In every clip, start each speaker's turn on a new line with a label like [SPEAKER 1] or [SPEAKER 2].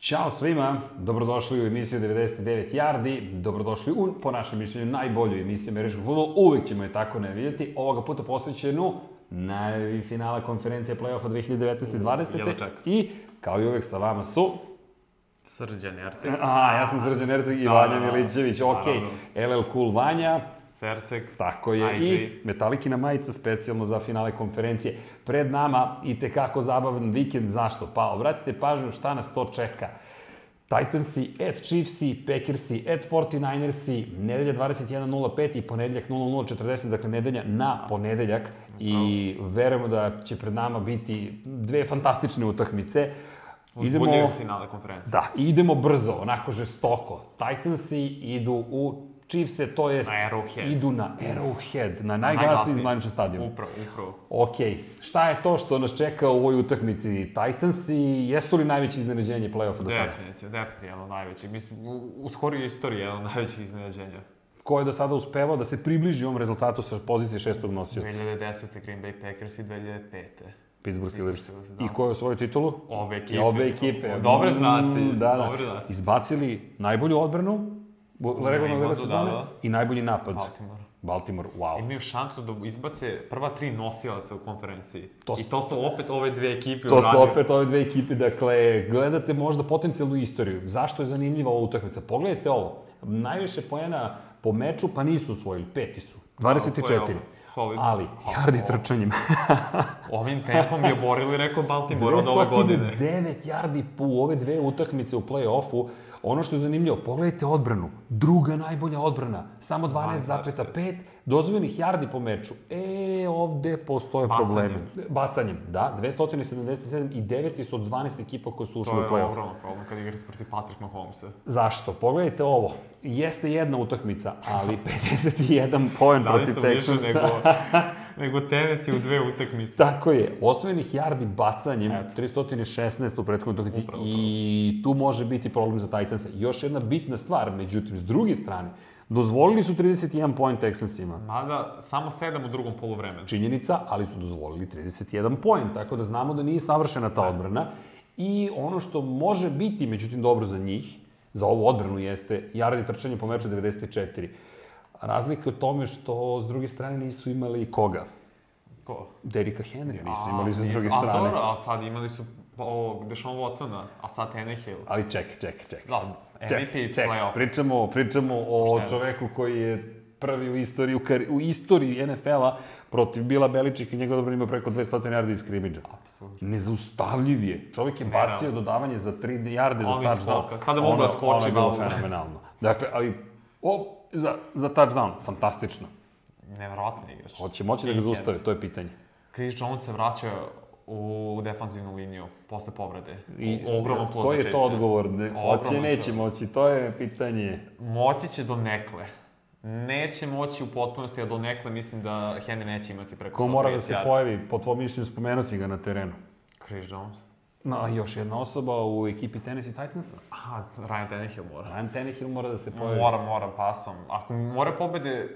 [SPEAKER 1] Ćao svima, dobrodošli u emisiju 99 Jardi, dobrodošli u, po našem mišljenju, najbolju emisiju američkog futbola, uvijek ćemo je tako najavljati, ovoga puta posvećenu najavi finala konferencije play-offa 2019-2020.
[SPEAKER 2] Jedva da čak.
[SPEAKER 1] I, kao i uvek sa vama su...
[SPEAKER 2] Srđan Jarcek,
[SPEAKER 1] A, ja sam Srđan Erceg i
[SPEAKER 2] Da,
[SPEAKER 1] Vanja
[SPEAKER 2] da, da.
[SPEAKER 1] Milićević, ok, LL Cool Vanja,
[SPEAKER 2] Sercek,
[SPEAKER 1] Tako je,
[SPEAKER 2] IG.
[SPEAKER 1] i Metalikina majica specijalno za finale konferencije. Pred nama i tekako zabavan vikend, zašto? Pa, obratite pažnju šta nas to čeka. Titansi, at Chiefsi, Packersi, at 49ersi, nedelja 21.05 i ponedeljak 00.40, dakle nedelja na ponedeljak. I verujemo da će pred nama biti dve fantastične utakmice.
[SPEAKER 2] uzbudljiv finale konferencije.
[SPEAKER 1] Da, i idemo brzo, onako žestoko. Titansi idu u Chiefse, to jest...
[SPEAKER 2] Na Arrowhead.
[SPEAKER 1] Idu na Arrowhead, na najglasniji
[SPEAKER 2] najglasniji.
[SPEAKER 1] zvaničan stadion.
[SPEAKER 2] Upravo, upravo.
[SPEAKER 1] Ok, šta je to što nas čeka u ovoj utakmici Titansi? Jesu li najveće iznenađenje play-offa do sada?
[SPEAKER 2] Definitivno, definitivno najveći. Mislim, u, u skorijoj istoriji je jedno od najvećih iznenađenja.
[SPEAKER 1] Ko je do sada uspevao da se približi ovom rezultatu sa pozicije šestog nosioca?
[SPEAKER 2] 2010. Green Bay Packers i 2005.
[SPEAKER 1] Pittsburgh Steelers.
[SPEAKER 2] Steelers, da.
[SPEAKER 1] I ko je osvojio titulu?
[SPEAKER 2] Obe
[SPEAKER 1] I
[SPEAKER 2] ekipe.
[SPEAKER 1] obe ekipe.
[SPEAKER 2] Dobre
[SPEAKER 1] Mm,
[SPEAKER 2] znaci,
[SPEAKER 1] Da, da.
[SPEAKER 2] dobre znaci.
[SPEAKER 1] Izbacili najbolju odbranu u regularnoj
[SPEAKER 2] Englandu,
[SPEAKER 1] dela
[SPEAKER 2] da,
[SPEAKER 1] sezone
[SPEAKER 2] da.
[SPEAKER 1] i najbolji napad.
[SPEAKER 2] Baltimore.
[SPEAKER 1] Baltimore, wow.
[SPEAKER 2] Imaju šansu da izbace prva tri nosilaca u konferenciji.
[SPEAKER 1] To
[SPEAKER 2] I
[SPEAKER 1] su-
[SPEAKER 2] to su opet ove dve ekipe
[SPEAKER 1] To su
[SPEAKER 2] uradile.
[SPEAKER 1] opet ove dve ekipe, dakle, gledate možda potencijalnu istoriju. Zašto je zanimljiva ova utakmica? Pogledajte ovo, najviše poena po meču, pa nisu usvojili, peti su.
[SPEAKER 2] Tako je,
[SPEAKER 1] 24.
[SPEAKER 2] ovo, solidno.
[SPEAKER 1] Ali, jardi trčanjima.
[SPEAKER 2] Ovim tempom je oborili, rekao Baltimore od ove godine.
[SPEAKER 1] 209 jardi u ove dve utakmice u play-offu. Ono što je zanimljivo, pogledajte odbranu. Druga najbolja odbrana. Samo 12,5 dozvoljenih jardi po meču. E, ovde postoje
[SPEAKER 2] Bacanjem.
[SPEAKER 1] problemi. Bacanjem, da. 277 i 9 su od 12 ekipa koje su ušle
[SPEAKER 2] To
[SPEAKER 1] u
[SPEAKER 2] je
[SPEAKER 1] play-off.
[SPEAKER 2] ogroman problem kad igrate protiv Patrick Mahomesa.
[SPEAKER 1] Zašto? Pogledajte ovo. Jeste jedna utakmica, ali 51 poen
[SPEAKER 2] Da li
[SPEAKER 1] protiv
[SPEAKER 2] su više
[SPEAKER 1] Texansa.
[SPEAKER 2] nego, nego Tennessee u dve utakmice?
[SPEAKER 1] Tako je, osvojenih jardi bacanjem,
[SPEAKER 2] Eto.
[SPEAKER 1] 316 u prethodnoj utakmici
[SPEAKER 2] Upravo to.
[SPEAKER 1] i tu može biti problem za Titansa. Još jedna bitna stvar, međutim, s druge strane, dozvolili su 31 poen Texansima.
[SPEAKER 2] Mada, samo sedam u drugom polovremenu.
[SPEAKER 1] Činjenica, ali su dozvolili 31 poen, tako da znamo da nije savršena ta odbrana. I ono što može biti, međutim, dobro za njih, za ovu odbranu jeste jardi trčanje po meču 94. Razlika je u tome što s druge strane nisu imali koga.
[SPEAKER 2] Ko?
[SPEAKER 1] Derika Henrya nisu
[SPEAKER 2] A,
[SPEAKER 1] imali sa druge
[SPEAKER 2] nisu.
[SPEAKER 1] strane.
[SPEAKER 2] A dobro, ali sad imali su pa, ovog Deshaun Watsona, a sad Tannehill.
[SPEAKER 1] Ali čekaj, čekaj, čekaj.
[SPEAKER 2] Da, MVP playoff.
[SPEAKER 1] Pričamo, pričamo o
[SPEAKER 2] Pošteno.
[SPEAKER 1] čoveku koji je prvi u istoriji, u, kari, u istoriji NFL-a protiv Bila Beličika i njegov dobro ima preko 200 yardi iz krimidža.
[SPEAKER 2] Apsolutno.
[SPEAKER 1] Nezaustavljiv je. Čovjek je
[SPEAKER 2] Nerealno.
[SPEAKER 1] bacio dodavanje za 3 yarde za
[SPEAKER 2] Ono iz skoka.
[SPEAKER 1] touchdown.
[SPEAKER 2] Sada mogu da
[SPEAKER 1] Ono-
[SPEAKER 2] skoči
[SPEAKER 1] Ono je bilo
[SPEAKER 2] glavom.
[SPEAKER 1] fenomenalno. Dakle, ali o, za, za touchdown, fantastično.
[SPEAKER 2] Nevjerovatno igrač.
[SPEAKER 1] Hoće moći da ga
[SPEAKER 2] Nije
[SPEAKER 1] zaustave, to je pitanje.
[SPEAKER 2] Chris Jones se vraća u defanzivnu liniju posle povrede. I, ogroman plus
[SPEAKER 1] Koji
[SPEAKER 2] za
[SPEAKER 1] je to
[SPEAKER 2] Chiefse.
[SPEAKER 1] odgovor? Ne, hoće,
[SPEAKER 2] Ogroman
[SPEAKER 1] neće
[SPEAKER 2] čovjek.
[SPEAKER 1] moći, to je pitanje.
[SPEAKER 2] Moći će do nekle. Neće moći u potpunosti, a do nekle mislim da Henry neće imati preko 130
[SPEAKER 1] Ko mora da se
[SPEAKER 2] yardi.
[SPEAKER 1] pojavi, po tvojom mišljenju spomenuti ga na terenu?
[SPEAKER 2] Chris Jones.
[SPEAKER 1] No, a još jedna osoba u ekipi Tennessee Titansa. da,
[SPEAKER 2] Aha, Ryan Tannehill mora.
[SPEAKER 1] Ryan Tannehill mora da se pojavi.
[SPEAKER 2] Mora, mora pasom. Ako mora pobede,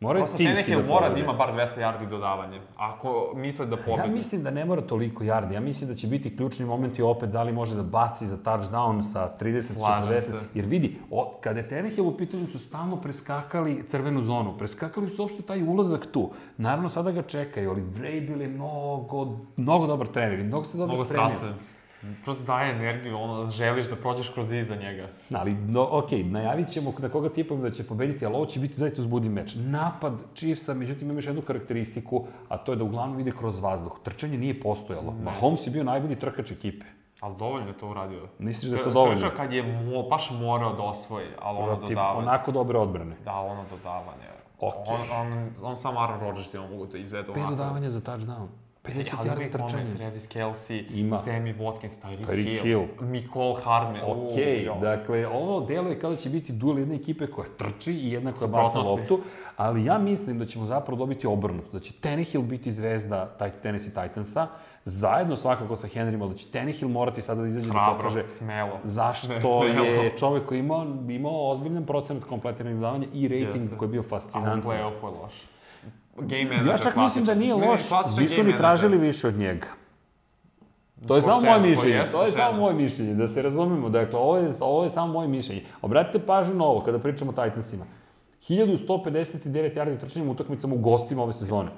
[SPEAKER 1] mora
[SPEAKER 2] prosto Tannehill mora da ima bar 200 yardi dodavanje. Ako misle da pobede.
[SPEAKER 1] Ja mislim da ne mora toliko yardi. Ja mislim da će biti ključni moment i opet da li može da baci za touchdown sa 30-40.
[SPEAKER 2] Slažem se.
[SPEAKER 1] Jer vidi, o, kada je Tannehill u pitanju su stalno preskakali crvenu zonu. Preskakali su uopšte taj ulazak tu. Naravno, sada ga čekaju, ali Vrabel je mnogo, mnogo dobar trener i mnogo se dobro
[SPEAKER 2] Mnogo
[SPEAKER 1] da spremio.
[SPEAKER 2] strastven. Prosto daje energiju, ono, želiš da prođeš kroz iza njega.
[SPEAKER 1] Ali, no, ok, najavit ćemo na koga tipujem da će pobediti, ali ovo će biti zaista uzbudni meč. Napad Chiefsa, međutim, ima još jednu karakteristiku, a to je da uglavnom ide kroz vazduh. Trčanje nije postojalo. Mahomes je bio najbolji trkač ekipe.
[SPEAKER 2] Ali dovoljno je to uradio.
[SPEAKER 1] Misliš da je to
[SPEAKER 2] Tr-
[SPEAKER 1] dovoljno?
[SPEAKER 2] Trčao kad je mo, baš morao da osvoji, ali ono
[SPEAKER 1] Protiv
[SPEAKER 2] dodavanje.
[SPEAKER 1] onako dobre odbrane.
[SPEAKER 2] Da, ono dodavanje.
[SPEAKER 1] Ok.
[SPEAKER 2] On, on, on samo Aaron Rodgers je on mogu da izvede
[SPEAKER 1] Pet
[SPEAKER 2] onako.
[SPEAKER 1] dodavanja za touchdown. 50
[SPEAKER 2] Ali
[SPEAKER 1] yardi
[SPEAKER 2] uvijek moment,
[SPEAKER 1] trčanje.
[SPEAKER 2] Travis Kelsey,
[SPEAKER 1] Ima.
[SPEAKER 2] Sammy Watkins, Tyreek
[SPEAKER 1] Tyreek
[SPEAKER 2] Hill,
[SPEAKER 1] Hill.
[SPEAKER 2] Nicole Hardman.
[SPEAKER 1] Ok,
[SPEAKER 2] u,
[SPEAKER 1] dakle, ovo delo je kao da će biti duel jedne ekipe koja trči i jedna koja baca
[SPEAKER 2] Suprotnosti.
[SPEAKER 1] loptu, ali ja mislim da ćemo zapravo dobiti obrnuto, da će Tannehill biti zvezda taj Tennessee Titansa, zajedno svakako sa Henrym, ali da će Tannehill morati sada da izađe da
[SPEAKER 2] Hrabro,
[SPEAKER 1] pokaže
[SPEAKER 2] smelo. Ne,
[SPEAKER 1] zašto
[SPEAKER 2] smelo.
[SPEAKER 1] je čovek koji imao, imao ozbiljan procenat kompletiranih davanja i rating
[SPEAKER 2] Jeste.
[SPEAKER 1] koji je bio
[SPEAKER 2] A u
[SPEAKER 1] fascinantan.
[SPEAKER 2] play-offu je loš. Game manager
[SPEAKER 1] Ja čak mislim da nije loš,
[SPEAKER 2] klasičan
[SPEAKER 1] nisu
[SPEAKER 2] game
[SPEAKER 1] ni tražili
[SPEAKER 2] manager.
[SPEAKER 1] više od njega. To je samo moje
[SPEAKER 2] Pošteno,
[SPEAKER 1] mišljenje,
[SPEAKER 2] pa je,
[SPEAKER 1] to je
[SPEAKER 2] pošteno.
[SPEAKER 1] samo moje mišljenje, da se razumemo. Dakle, ovo je, ovo je samo moje mišljenje. Obratite pažnju na ovo, kada pričamo o Titansima. 1159 yardi trčanjem u utakmicama u gostima ove sezone.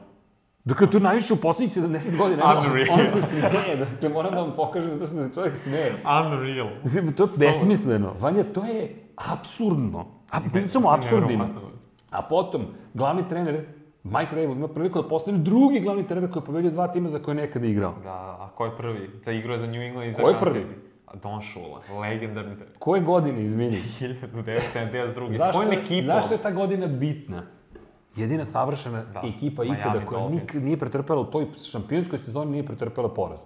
[SPEAKER 1] Dakle, to je najviše u poslednjih 70 godina. Evo,
[SPEAKER 2] Unreal.
[SPEAKER 1] On se smeje, dakle, moram da vam pokažem zato što se čovjek smeje.
[SPEAKER 2] Unreal.
[SPEAKER 1] Mislim, to je besmisleno. Vanja, to je absurdno. A, pričamo o absurdima. A potom, glavni trener, Mike Rabel, ima priliku da postane drugi glavni trener koji je pobedio dva tima za koje je nekada igrao.
[SPEAKER 2] Da, a ko je prvi? Za igru je za New England i za
[SPEAKER 1] Ko je
[SPEAKER 2] Kansas
[SPEAKER 1] prvi?
[SPEAKER 2] City. A Don Shula, legendarni trener.
[SPEAKER 1] Koje godine, izvini?
[SPEAKER 2] 1972. S
[SPEAKER 1] Zašto,
[SPEAKER 2] kojim ekipom?
[SPEAKER 1] zašto je ta godina bitna? Jedina savršena
[SPEAKER 2] Da,
[SPEAKER 1] ekipa
[SPEAKER 2] Miami
[SPEAKER 1] ikada koja
[SPEAKER 2] Dolphins.
[SPEAKER 1] nik, nije pretrpela u toj šampionskoj sezoni nije pretrpela poraz.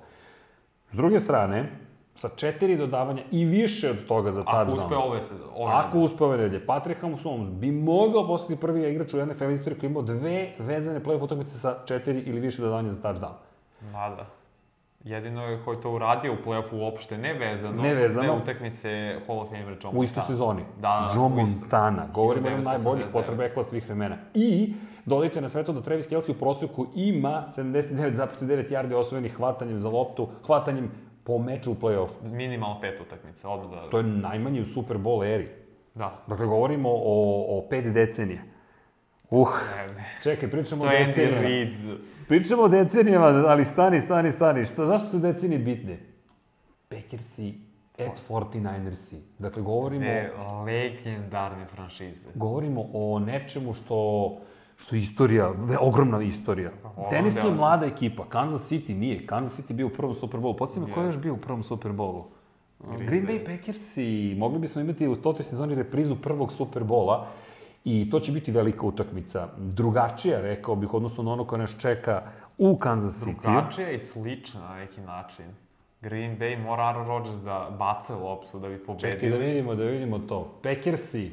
[SPEAKER 1] S druge strane, sa četiri dodavanja i više od toga za
[SPEAKER 2] Ako
[SPEAKER 1] touchdown.
[SPEAKER 2] uspe ove se... Ove
[SPEAKER 1] Ako uspe ove nedelje, Patrick Mahomes bi mogao postati prvi igrač u NFL istoriji koji je imao dve vezane play-off utakmice sa četiri ili više dodavanja za touchdown.
[SPEAKER 2] Mada. Jedino je ko je to uradio u play-offu uopšte, ne vezano.
[SPEAKER 1] Ne vezano.
[SPEAKER 2] Te utakmice Hall of Famer John
[SPEAKER 1] U istoj
[SPEAKER 2] Montana.
[SPEAKER 1] sezoni.
[SPEAKER 2] Da, da,
[SPEAKER 1] Joe
[SPEAKER 2] u istoj.
[SPEAKER 1] Montana. Govorimo o jednom
[SPEAKER 2] 1989.
[SPEAKER 1] najboljih quarterbackova svih vremena. I dodajte na sve to da Travis Kelce u prosjeku ima 79,9 yardi osvojenih hvatanjem za loptu, hvatanjem po meču u play-offu.
[SPEAKER 2] Minimalno pet utakmica, odmah da...
[SPEAKER 1] To je najmanji u Super Bowl eri.
[SPEAKER 2] Da.
[SPEAKER 1] Dakle, govorimo o, o pet decenija. Uh,
[SPEAKER 2] Ne, ne.
[SPEAKER 1] čekaj, pričamo o
[SPEAKER 2] To je Andy
[SPEAKER 1] decenijama.
[SPEAKER 2] Reid.
[SPEAKER 1] Pričamo o decenijama, ali stani, stani, stani. Šta, zašto su decenije bitne? Packersi, at 49ersi. Dakle, govorimo o
[SPEAKER 2] Ne, E, legendarne franšize.
[SPEAKER 1] govorimo o nečemu što što je istorija, ve- ogromna istorija.
[SPEAKER 2] Ovom
[SPEAKER 1] Tennessee je
[SPEAKER 2] delu.
[SPEAKER 1] mlada ekipa, Kansas City nije. Kansas City je bio u prvom Super Bowlu. Podsjeti me ko je još bio u prvom Super Bowlu? Green, Bay Packers i mogli bismo imati u stotoj sezoni reprizu prvog Super Bowla i to će biti velika utakmica. Drugačija, rekao bih, odnosno na ono koje nas čeka u Kansas City.
[SPEAKER 2] Drugačija i slična na neki način. Green Bay mora Aaron Rodgers da baca loptu da bi pobedio.
[SPEAKER 1] Čekaj da vidimo, da vidimo to. Packersi,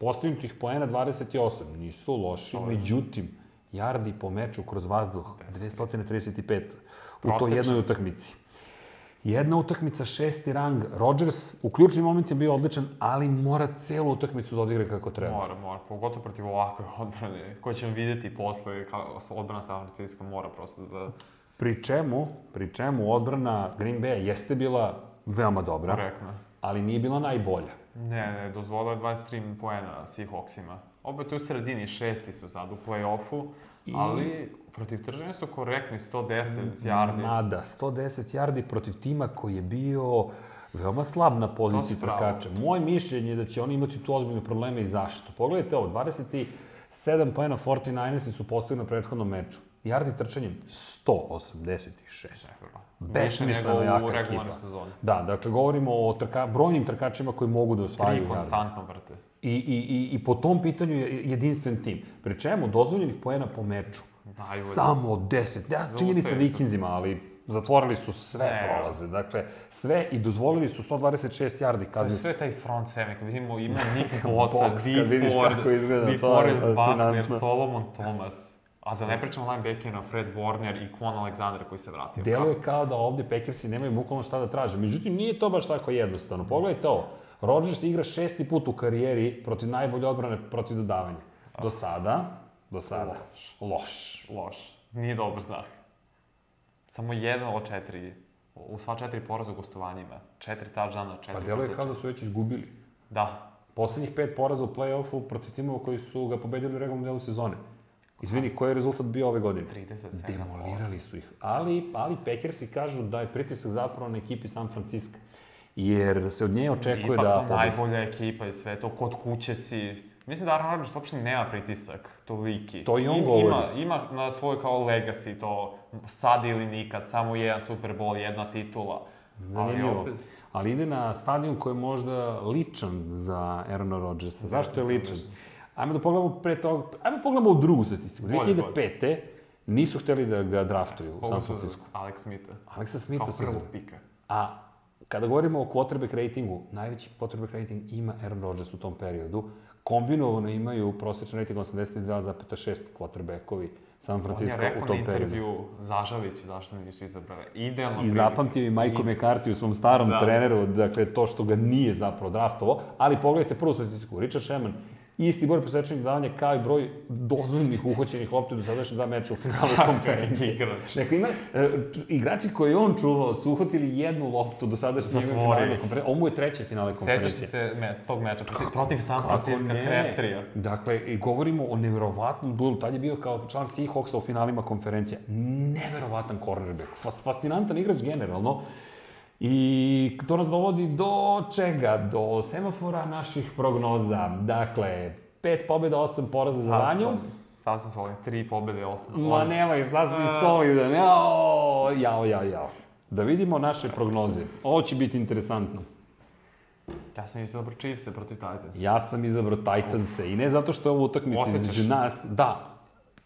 [SPEAKER 1] postignutih poena 28, nisu loši, međutim, jardi po meču kroz vazduh, 235 u toj
[SPEAKER 2] Prosečno.
[SPEAKER 1] jednoj utakmici. Jedna utakmica, šesti rang, Rodgers u ključnim momentima bio odličan, ali mora celu utakmicu da odigra kako treba.
[SPEAKER 2] Mora, mora, pogotovo protiv ovakve odbrane, koje ćemo videti posle, kao odbrana San Francisco mora prosto da...
[SPEAKER 1] Pri čemu, pri čemu odbrana Green Bay jeste bila veoma dobra,
[SPEAKER 2] Korektno.
[SPEAKER 1] ali nije bila najbolja.
[SPEAKER 2] Ne, ne, dozvolio je 23 poena Seahawksima. Opet u sredini, šesti su sad u play-offu, ali protiv tržanja su korektni 110
[SPEAKER 1] Mm,
[SPEAKER 2] yardi.
[SPEAKER 1] Nada, 110 da, yardi protiv tima koji je bio veoma slab na poziciji
[SPEAKER 2] To si pravo.
[SPEAKER 1] trkača. Moje mišljenje je da će oni imati tu ozbiljne probleme i zašto. Pogledajte ovo, 27 poena 49ersi su postigli na prethodnom meču. Yardi trčanjem 186.
[SPEAKER 2] Više nego
[SPEAKER 1] Besmisleno jaka
[SPEAKER 2] u
[SPEAKER 1] ekipa.
[SPEAKER 2] regularnoj sezoni.
[SPEAKER 1] Da, dakle, govorimo o trka, brojnim trkačima koji mogu da osvajaju
[SPEAKER 2] Tri
[SPEAKER 1] yardi.
[SPEAKER 2] konstantno vrte.
[SPEAKER 1] I, i, i, I po tom pitanju je jedinstven tim. Pri čemu dozvoljenih poena po meču.
[SPEAKER 2] Najbolje.
[SPEAKER 1] Samo 10. Ja, činjenica
[SPEAKER 2] su.
[SPEAKER 1] vikinzima, ali zatvorili su sve
[SPEAKER 2] Ne.
[SPEAKER 1] prolaze. Dakle, sve i dozvolili su 126 jardi
[SPEAKER 2] To je
[SPEAKER 1] kazni.
[SPEAKER 2] sve taj front seven, kad vidimo ima Nick Bosa,
[SPEAKER 1] Box,
[SPEAKER 2] Dee
[SPEAKER 1] kad vidiš kako
[SPEAKER 2] Ford,
[SPEAKER 1] izgleda,
[SPEAKER 2] Dee
[SPEAKER 1] to je
[SPEAKER 2] Forrest Buckner,
[SPEAKER 1] fascinantno.
[SPEAKER 2] Solomon Thomas. A da ne pričamo o linebackerima Fred Warner i Quan Alexander koji se vratio.
[SPEAKER 1] Deluje kao da ovde Packersi nemaju bukvalno šta da traže. Međutim, nije to baš tako jednostavno. Pogledajte ovo. Rodgers igra šesti put u karijeri protiv najbolje odbrane protiv dodavanja. Do sada, do sada, loš.
[SPEAKER 2] Loš. Nije dobar znak. Samo jedan od četiri, u sva četiri poraza u gostovanjima. Četiri touchdowna, četiri
[SPEAKER 1] Pa deluje
[SPEAKER 2] poseča.
[SPEAKER 1] kao da su već izgubili.
[SPEAKER 2] Da.
[SPEAKER 1] Poslednjih pet poraza u play-offu protiv timova koji su ga pobedili u regularnom delu sezone. Izvini, koji je rezultat bio ove godine?
[SPEAKER 2] 37.
[SPEAKER 1] Demolirali su ih. Ali, ali Packersi kažu da je pritisak zapravo na ekipi San Francisco. Jer se od nje očekuje
[SPEAKER 2] Ipak
[SPEAKER 1] da
[SPEAKER 2] to
[SPEAKER 1] pobedi.
[SPEAKER 2] najbolja ekipa i sve to, kod kuće si. Mislim da Aaron Rodgers uopšte nema pritisak toliki.
[SPEAKER 1] To i on
[SPEAKER 2] Im- Ima,
[SPEAKER 1] govori.
[SPEAKER 2] ima na svoj kao legacy to sad ili nikad, samo jedan Super Bowl, jedna titula. Ali
[SPEAKER 1] Zanimljivo.
[SPEAKER 2] opet,
[SPEAKER 1] Ali ide na stadion koji je možda ličan za Aarona Rodgersa.
[SPEAKER 2] Da,
[SPEAKER 1] Zašto je ličan? Ajmo da pogledamo pre toga, ajmo da pogledamo u drugu statistiku.
[SPEAKER 2] Bolje, bolje.
[SPEAKER 1] 2005. nisu hteli da ga draftuju u San
[SPEAKER 2] ovo su
[SPEAKER 1] Francisco.
[SPEAKER 2] Alex Smitha.
[SPEAKER 1] Aleksa
[SPEAKER 2] Kao
[SPEAKER 1] Smitha su
[SPEAKER 2] prvog
[SPEAKER 1] uzeli.
[SPEAKER 2] pika.
[SPEAKER 1] A kada govorimo o quarterback ratingu, najveći quarterback rating ima Aaron Rodgers u tom periodu. Kombinovano imaju prosječan rating 82,6 quarterbackovi San
[SPEAKER 2] On je
[SPEAKER 1] Francisco u
[SPEAKER 2] rekao na
[SPEAKER 1] tom periodu.
[SPEAKER 2] intervju Zažalić zašto nisu izabrali. Idealno
[SPEAKER 1] I zapamtio je Michael McCarthy u svom starom
[SPEAKER 2] Da.
[SPEAKER 1] treneru, dakle to što ga nije zapravo draftovao, ali pogledajte prvu statistiku, Richard Sherman, Isti broj presečenih davanja kao i broj dozvoljnih uhoćenih lopti do sadašnje dva meča u finalu konferencije.
[SPEAKER 2] Igrač.
[SPEAKER 1] Dakle, ima, e, č- igrači koji je on čuvao su uhvatili jednu loptu do sadašnje
[SPEAKER 2] Zatvorili.
[SPEAKER 1] finale konferencije. Ovo mu je treće finale
[SPEAKER 2] Sećaš se
[SPEAKER 1] konferencije.
[SPEAKER 2] te, me, tog meča protiv, protiv San Francisco
[SPEAKER 1] ne?
[SPEAKER 2] Crabtree-a?
[SPEAKER 1] Dakle, i govorimo o nevjerovatnom duelu. Tad je bio kao član Seahawksa u finalima konferencija. Neverovatan cornerback. Fas, fascinantan igrač generalno. I to nas dovodi do čega? Do semafora naših prognoza. Dakle, pet pobjeda, osam poraza za
[SPEAKER 2] Sad
[SPEAKER 1] Vanju.
[SPEAKER 2] sam- Sad sam solid, tri pobjede, osam.
[SPEAKER 1] Ma nemoj, sad smo solidan. Jao, da jao, jao, jao. Da vidimo naše prognoze. Ovo će biti interesantno.
[SPEAKER 2] Ja sam izabrao Chiefs-e protiv Titans.
[SPEAKER 1] Ja sam izabrao Titanse i ne zato što je ovo utakmica
[SPEAKER 2] Osjećaš?
[SPEAKER 1] između nas. Da,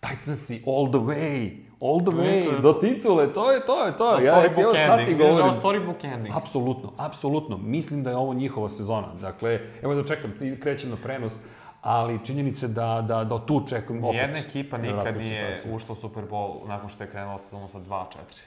[SPEAKER 1] Titansi all the way, all the way,
[SPEAKER 2] Titule.
[SPEAKER 1] do titule, to je, to je, to je. Ja,
[SPEAKER 2] storybook
[SPEAKER 1] evo sad ti
[SPEAKER 2] ending, vidiš da
[SPEAKER 1] govorim.
[SPEAKER 2] je ovo storybook ending.
[SPEAKER 1] Apsolutno, apsolutno. Mislim da je ovo njihova sezona. Dakle, evo da čekam, krećem na prenos, ali činjenica je da, da, da tu čekam opet. da-
[SPEAKER 2] Jedna ekipa nikad
[SPEAKER 1] nevjerojatnu
[SPEAKER 2] nije
[SPEAKER 1] situaciju.
[SPEAKER 2] ušla u Super Bowl nakon što je krenula sezonu sa 2-4.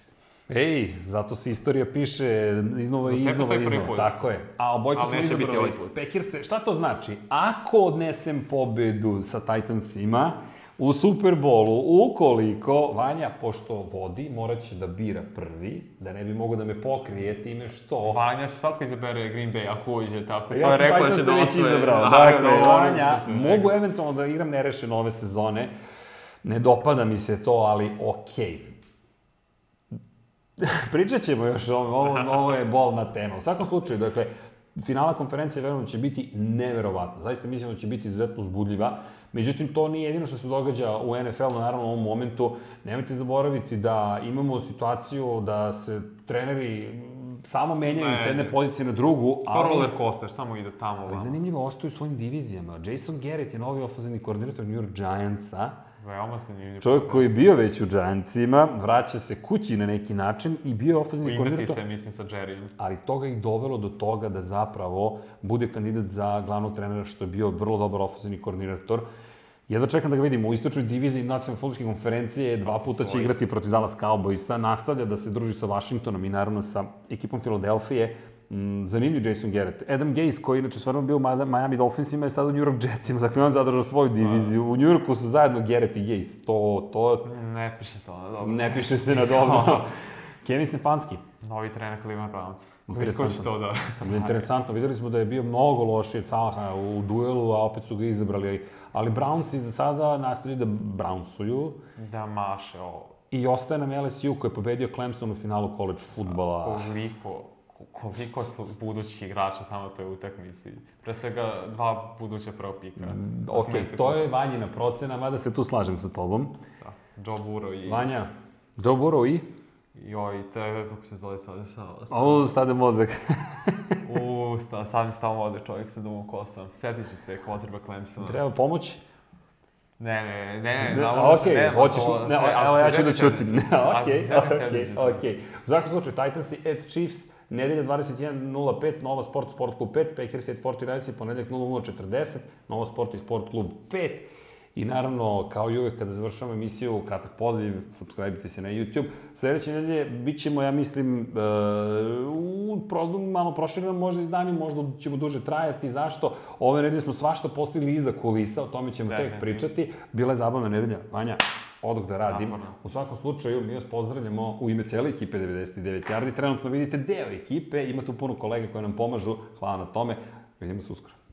[SPEAKER 1] Ej, zato se istorija piše iznova i
[SPEAKER 2] Za sve
[SPEAKER 1] iznova
[SPEAKER 2] postoji
[SPEAKER 1] i
[SPEAKER 2] prvi
[SPEAKER 1] iznova.
[SPEAKER 2] put.
[SPEAKER 1] Tako je. A obojka
[SPEAKER 2] Ali
[SPEAKER 1] smo
[SPEAKER 2] neće biti
[SPEAKER 1] izabrali.
[SPEAKER 2] ovaj put.
[SPEAKER 1] Pekirse, šta to znači? Ako odnesem pobedu sa Titansima u Super Bowlu, ukoliko Vanja, pošto vodi, morat će da bira prvi, da ne bi mogo da me pokrije time što...
[SPEAKER 2] Vanja će svako izabere Green Bay ako uđe tako.
[SPEAKER 1] Ja sam rekao da
[SPEAKER 2] da
[SPEAKER 1] već
[SPEAKER 2] osvoje.
[SPEAKER 1] izabrao.
[SPEAKER 2] Naravno,
[SPEAKER 1] Dakle,
[SPEAKER 2] morali
[SPEAKER 1] Vanja,
[SPEAKER 2] smo se
[SPEAKER 1] mogu eventualno da igram nerešeno ove sezone. Ne dopada mi se to, ali okej. Pričat ćemo još o ovom, ovo, ovo je bolna tema. U svakom slučaju, dakle, finala konferencije verujem da će biti neverovatna. Zaista mislim da će biti izuzetno uzbudljiva. Međutim, to nije jedino što se događa u NFL-u, naravno u ovom momentu. Nemojte zaboraviti da imamo situaciju da se treneri mm, samo menjaju
[SPEAKER 2] Ne.
[SPEAKER 1] s jedne pozicije na drugu,
[SPEAKER 2] Ko
[SPEAKER 1] ali
[SPEAKER 2] roller coaster, samo ide tamo
[SPEAKER 1] Ali
[SPEAKER 2] ovamo.
[SPEAKER 1] zanimljivo, ostaju u svojim divizijama. Jason Garrett je novi ofenzivni koordinator New York Giantsa.
[SPEAKER 2] Veoma zanimljiv.
[SPEAKER 1] Čovjek koji je bio već u Giantsima, vraća se kući na neki način i bio je ofenzivni
[SPEAKER 2] Indati
[SPEAKER 1] koordinator.
[SPEAKER 2] se, mislim, sa Jerryjem.
[SPEAKER 1] Ali to ga je i dovelo do toga da zapravo bude kandidat za glavnog trenera, što je bio vrlo dobar ofenzivni koordinator. Jedva čekam da ga vidimo. U istočnoj diviziji nacionalne fudbalske konferencije dva puta će
[SPEAKER 2] svojih.
[SPEAKER 1] igrati protiv Dallas Cowboysa, nastavlja da se druži sa Washingtonom i naravno sa ekipom Filadelfije. Mm, Zanimljiv Jason Garrett. Adam Gase, koji je inače stvarno bio u Mada- Miami Dolphinsima, je sad u New York Jetsima, dakle on zadržao svoju diviziju. U New Yorku su zajedno Garrett i Gase. To, to
[SPEAKER 2] Ne piše to, ne, dobro.
[SPEAKER 1] ne piše se na dobro. Kevin Stefanski,
[SPEAKER 2] Novi trener Cleveland Browns. Koji ko
[SPEAKER 1] Interesantno.
[SPEAKER 2] će to da...
[SPEAKER 1] Ali interesantno, videli smo da je bio mnogo lošiji od Salaha u duelu, a opet su ga izabrali. Ali Browns i za sada nastavljaju da Brownsuju
[SPEAKER 2] da maše ovo.
[SPEAKER 1] i ostaje nam LSU koji je pobedio Clemson u finalu college futbala.
[SPEAKER 2] Koliko, koliko su budući igrača samo na toj utakmici. Pre svega dva buduća prvo pika.
[SPEAKER 1] Ok,
[SPEAKER 2] Mjesto
[SPEAKER 1] to je Vanjina procena, mada se tu slažem sa tobom.
[SPEAKER 2] Da. Joe Burrow i...
[SPEAKER 1] Vanja, Joe Burrow i?
[SPEAKER 2] Joj, te, kako se zove sad? Sa, sa,
[SPEAKER 1] O, stade mozak.
[SPEAKER 2] u, sta, sam stalno ode čovjek sa dumom kosom. Sjetit ću se quarterback Clemsona.
[SPEAKER 1] Treba pomoć?
[SPEAKER 2] Ne, ne, ne, ne,
[SPEAKER 1] Ne,
[SPEAKER 2] ne,
[SPEAKER 1] a, okej, hoćeš, ne, evo ja ću da ćutim. Ne, okej, okej,
[SPEAKER 2] okej.
[SPEAKER 1] okej. U svakom slučaju, Titans i at Chiefs, nedelja 21.05, Nova Sport, Sport Klub 5, Packers i at 49ers, ponedeljak 00.40, Nova Sport i Sport Klub 5. I naravno, kao i uvek, kada završavamo emisiju, kratak poziv, subscribe se na YouTube. Sljedeće nedelje bit ćemo, ja mislim, e, u programu malo proširenom možda izdanju, možda ćemo duže trajati. Zašto? Ove nedelje smo svašta postigli iza kulisa, o tome ćemo tek
[SPEAKER 2] Definitivno.
[SPEAKER 1] pričati. Bila je zabavna nedelja. Vanja, odok da radim.
[SPEAKER 2] Naporno.
[SPEAKER 1] U svakom slučaju, mi vas pozdravljamo u ime cele ekipe 99 Jardi. Trenutno vidite deo ekipe, ima tu puno kolega koji nam pomažu. Hvala na tome. Vidimo se uskoro.